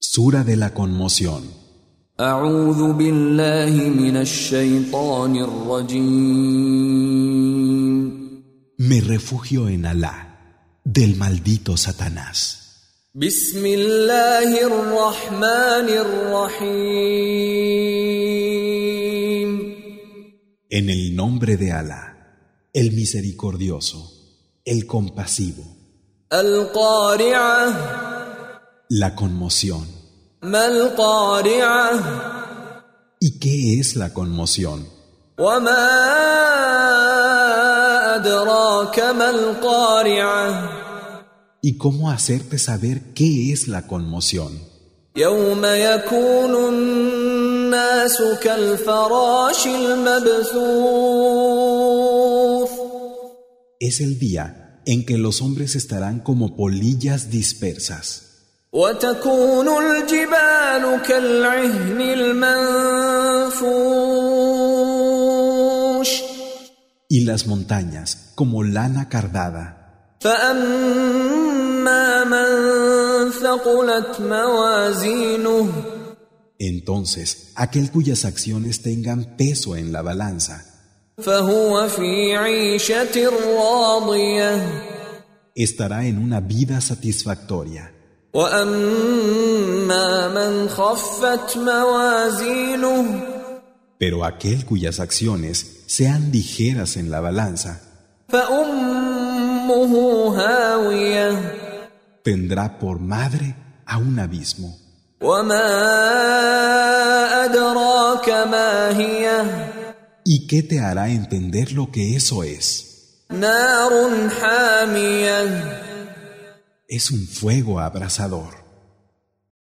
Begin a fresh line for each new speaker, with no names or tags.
Sura de la conmoción.
أعوذ بالله من الشيطان الرجيم
Me refugio en Alá, del maldito Satanás.
بسم الله الرحمن الرحيم
En el nombre de Alá, el misericordioso, el compasivo.
القارعة
La conmoción.
ما القارعة
¿Y qué es la conmoción?
وما أدراك ما القارعة
¿Y cómo hacerte saber qué es la conmoción?
يوم يكون الناس كالفراش المبثوث
Es el día en que los hombres estarán como polillas dispersas
وتكون الجبال كالعهن المنفوش
y las montañas como lana cardada.
فأما من ثقلت موازينه
Entonces, aquel cuyas acciones tengan peso en la balanza,
فهو في عيشة راضية
estará en una vida satisfactoria.
وأما من خفت موازينه
Pero aquel cuyas acciones sean ligeras en la balanza,
فأمه هاوية
tendrá por madre a un abismo.
وما أدراك ما هي
¿Y qué te hará entender lo que eso es?
نار حامية
Es un fuego abrasador.